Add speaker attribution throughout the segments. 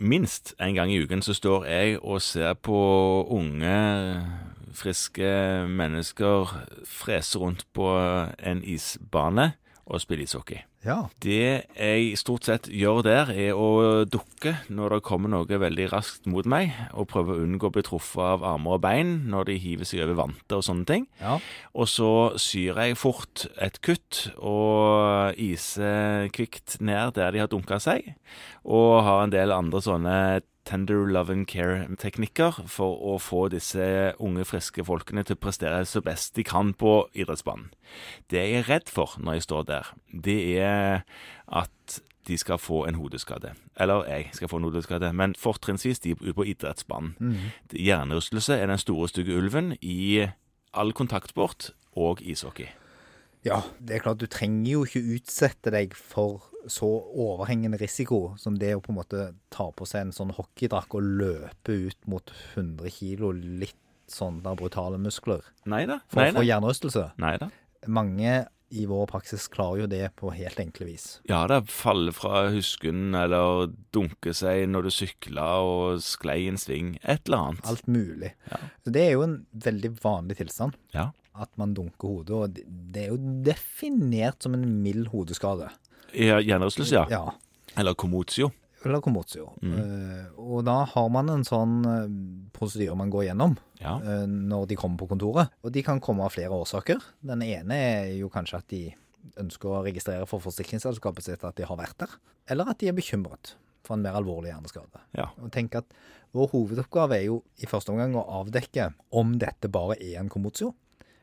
Speaker 1: minst en gang i uken så står jeg og ser på unge, friske mennesker frese rundt på en isbane og spille ishockey.
Speaker 2: Ja.
Speaker 1: Det jeg stort sett gjør der, er å dukke når det kommer noe veldig raskt mot meg, og prøve å unngå å bli truffet av armer og bein når de hiver seg over vanter og sånne ting.
Speaker 2: ja.
Speaker 1: Og så syr jeg fort et kutt og iser kvikt ned der de har dunka seg. Og har en del andre sånne tender love and care-teknikker for å få disse unge, friske folkene til å prestere så best de kan på idrettsbanen. Det jeg er redd for når jeg står der, det er at de skal få en hodeskade. Eller jeg skal få en hodeskade, men fortrinnsvis de ute på idrettsbanen. Hjernerystelse er den store stygge ulven i all kontaktsport og ishockey.
Speaker 2: Ja, det er klart du trenger jo ikke utsette deg for så overhengende risiko som det å på en måte ta på seg en sånn hockeydrakt og løpe ut mot 100 kilo litt sånn da brutale muskler
Speaker 1: Nei da.
Speaker 2: for å få hjernerystelse.
Speaker 1: Neida.
Speaker 2: Mange i vår praksis klarer jo det på helt enkle vis.
Speaker 1: Ja da, falle fra husken eller dunke seg når du sykla og sklei en sving. Et eller annet.
Speaker 2: Alt mulig. Så det er jo en veldig vanlig tilstand
Speaker 1: Ja.
Speaker 2: at man dunker hodet, og det- det er jo definert som en mild hodeskade.
Speaker 1: Ja, Hjernerystelse, ja.
Speaker 2: Ja.
Speaker 1: Eller komotio.
Speaker 2: Eller komotio. Eh, og da har man en sånn eh, prosedyre man går gjennom.
Speaker 1: Ja.
Speaker 2: eh, når de kommer på kontoret. Og de kan komme av flere årsaker. Den ene er jo kanskje at de ønsker å registrere for forsikringsselskapet sitt at de har vært der, eller at de er bekymret for en mer alvorlig hjerneskade.
Speaker 1: Ja.
Speaker 2: Og tenk at Vår hovedoppgave er jo i første omgang å avdekke om dette bare er en kommotio,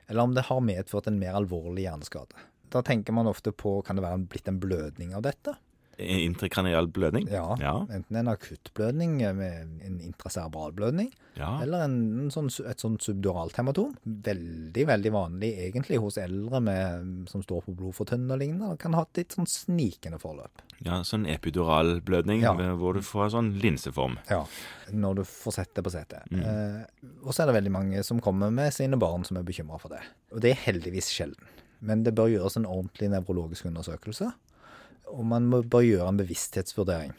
Speaker 2: eller om det har medført en mer alvorlig hjerneskade. Da tenker man ofte på kan det være en- blitt en blødning av dette.
Speaker 1: Interkranial blødning.
Speaker 2: Ja,
Speaker 1: Ja.
Speaker 2: Enten en akuttblødning eh, med en intracerebralblødning,
Speaker 1: ja.
Speaker 2: eller en, en sånn, et sånt subduralt hematom. Veldig, veldig vanlig egentlig hos eldre med, som står på blodfortynnende og lignende, og kan ha et litt sånn snikende forløp.
Speaker 1: ja sånn epidural blødning
Speaker 2: Ja.
Speaker 1: hvor du får en sånn linseform.
Speaker 2: Ja. Når du får sett det på setet. Eh, og så er det veldig mange som kommer med sine barn som er bekymra for det. Og det er heldigvis sjelden. Men det bør gjøres en ordentlig nevrologisk undersøkelse, og man må- bør gjøre en bevissthetsvurdering.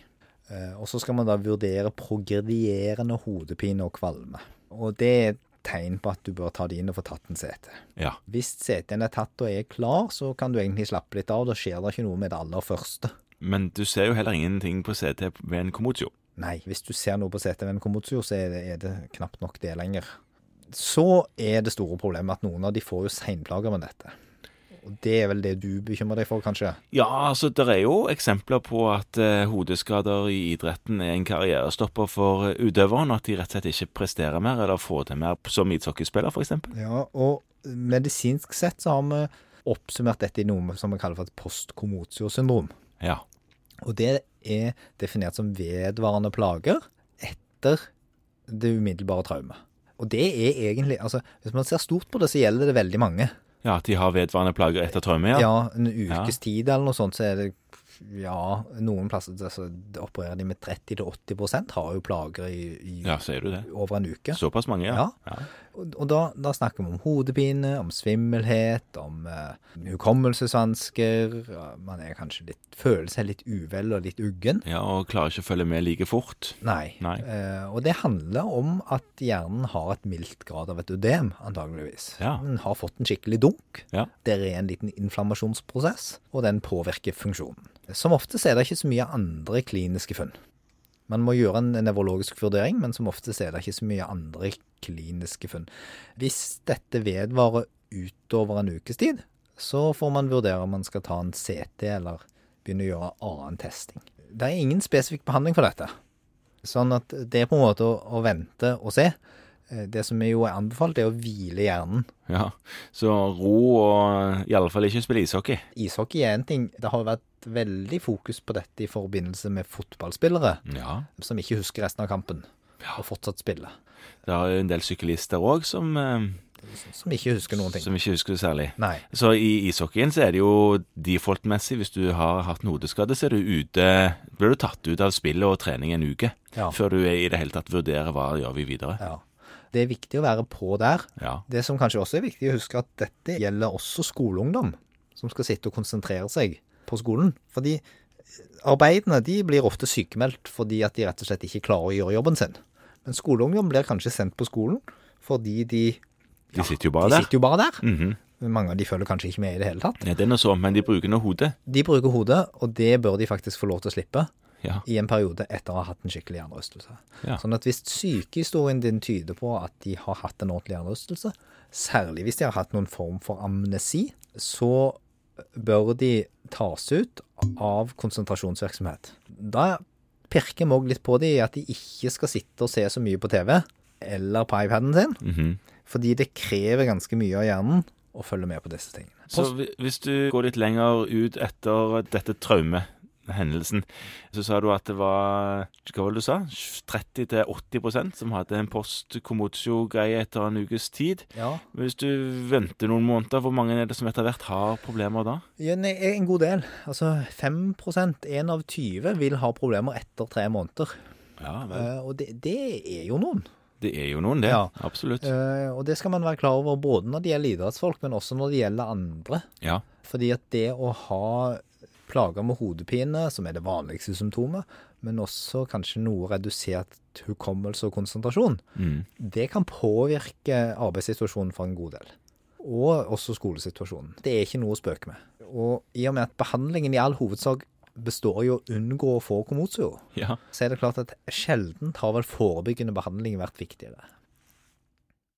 Speaker 2: Eh, Og så skal man da vurdere progredierende hodepine og kvalme. Og det er et tegn på at du bør ta det inn og få tatt en CT.
Speaker 1: Ja.
Speaker 2: Hvis CT-en er tatt og er klar, så kan du egentlig slappe litt av. Da skjer det ikke noe med det aller første.
Speaker 1: Men du ser jo heller ingenting på CT ved en komotio.
Speaker 2: Nei, hvis du ser noe på CT ved en kommotio, så er det, er det knapt nok det lenger. Så er det store problemet at noen av de får jo seinplager med dette. Og det er vel det du bekymrer deg for, kanskje?
Speaker 1: Ja, altså det er jo eksempler på at eh, hodeskader i idretten er en karrierestopper for eh, utøveren, og at de rett og slett ikke presterer mer eller får til mer som ishockeyspiller f.eks.
Speaker 2: Ja, og medisinsk sett så har vi oppsummert dette i noe som vi kaller for et postkommotio-syndrom.
Speaker 1: Ja.
Speaker 2: Og det er definert som vedvarende plager etter det umiddelbare traumet. Og det er egentlig altså, Hvis man ser stort på det, så gjelder det veldig mange.
Speaker 1: ja, at de har vedvarende plager etter traume,
Speaker 2: Ja,
Speaker 1: ja.
Speaker 2: En ukes tid eller noe sånt, så er det Ja, noen plasser så opererer de med 30-80 har jo plager i, i
Speaker 1: Ja, sier du det.
Speaker 2: over en uke.
Speaker 1: Såpass mange, ja.
Speaker 2: Ja. Og, og da, da snakker vi om hodepine, om svimmelhet, om eh, hukommelsesvansker. ja, Man er kanskje litt, føler seg litt uvel og litt uggen.
Speaker 1: Ja, Og klarer ikke å følge med like fort.
Speaker 2: Nei.
Speaker 1: Nei.
Speaker 2: Eh, og det handler om at hjernen har et mildt grad av et ødem, antageligvis.
Speaker 1: Ja.
Speaker 2: Den har fått en skikkelig dunk.
Speaker 1: Ja.
Speaker 2: Der er en liten inflammasjonsprosess, og den påvirker funksjonen. Som ofte så er det ikke så mye andre kliniske funn. Man må gjøre en nevrologisk vurdering, men som ofte så er det ikke så mye andre kliniske funn. Hvis dette vedvarer utover en ukes tid, så får man vurdere om man skal ta en CT eller begynne å gjøre annen testing. Det er ingen spesifikk behandling for dette. Sånn at det er på en måte å, å vente og se. Eh, Det som er jo er anbefalt, er å hvile hjernen.
Speaker 1: Ja. Så ro og iallfall ikke spille ishockey.
Speaker 2: Ishockey er en ting. Det har vært veldig fokus på dette i forbindelse med fotballspillere
Speaker 1: Ja.
Speaker 2: som ikke husker resten av kampen, og fortsatt spiller.
Speaker 1: Det er jo en del syklister òg som, eh,
Speaker 2: Som ikke husker noen ting.
Speaker 1: som ikke husker det særlig.
Speaker 2: Nei.
Speaker 1: Så i ishockeyen så er det jo default-messig. Hvis du har hatt en hodeskade, så er du ute Blir du tatt ut av spillet og trening en uke
Speaker 2: Ja.
Speaker 1: før du i det hele tatt vurderer hva gjør vi videre.
Speaker 2: ja. Det er viktig å være på der.
Speaker 1: Ja.
Speaker 2: Det som kanskje også er viktig å huske, at dette gjelder også skoleungdom, som skal sitte og konsentrere seg på skolen. Fordi Arbeidene de blir ofte sykemeldt fordi at de rett og slett ikke klarer å gjøre jobben sin. Men skoleungdom blir kanskje sendt på skolen fordi de,
Speaker 1: De sitter jo bare
Speaker 2: de
Speaker 1: der.
Speaker 2: sitter jo bare der.
Speaker 1: Mhm.
Speaker 2: Mange av de følger kanskje ikke med i det hele tatt.
Speaker 1: Ja, det er noe så, men de bruker nå hodet.
Speaker 2: De bruker hodet, og det bør de faktisk få lov til å slippe
Speaker 1: Ja.
Speaker 2: i en periode etter å ha hatt en skikkelig hjernerystelse.
Speaker 1: Ja.
Speaker 2: Sånn at hvis sykehistorien din tyder på at de har hatt en ordentlig hjernerystelse, særlig hvis de har hatt noen form for amnesi, så bør de tas ut av konsentrasjonsvirksomhet. Da pirker vi òg litt på det i at de ikke skal sitte og se så mye på TV eller på iPaden sin,
Speaker 1: Mhm.
Speaker 2: fordi det krever ganske mye av hjernen å følge med på disse tingene.
Speaker 1: Så hvi- hvis du går litt lenger ut etter dette traumehendelsen, så sa du at det var hva var det du sa? 30-80 som hadde en post-commotio-greie etter en ukes tid.
Speaker 2: Ja,
Speaker 1: Men Hvis du venter noen måneder, hvor mange er det som etter hvert har problemer da?
Speaker 2: Ja, nei, En god del. Altså 5 én av 20 vil ha problemer etter tre måneder.
Speaker 1: Ja, vel.
Speaker 2: Eh, og det, det er jo noen.
Speaker 1: Det er jo noen, det.
Speaker 2: Ja.
Speaker 1: Absolutt.
Speaker 2: Eh, og det skal man være klar over både når det gjelder idrettsfolk, men også når det gjelder andre.
Speaker 1: Ja.
Speaker 2: Fordi at det å ha plager med hodepine, som er det vanligste symptomet, men også kanskje noe redusert hukommelse og konsentrasjon,
Speaker 1: Mm.
Speaker 2: det kan påvirke arbeidssituasjonen for en god del. Og også skolesituasjonen. Det er ikke noe å spøke med. Og i og med at behandlingen i all hovedsak består i å unngå å få kommotio,
Speaker 1: ja.
Speaker 2: så er det klart at sjelden har vel forebyggende behandling vært viktigere.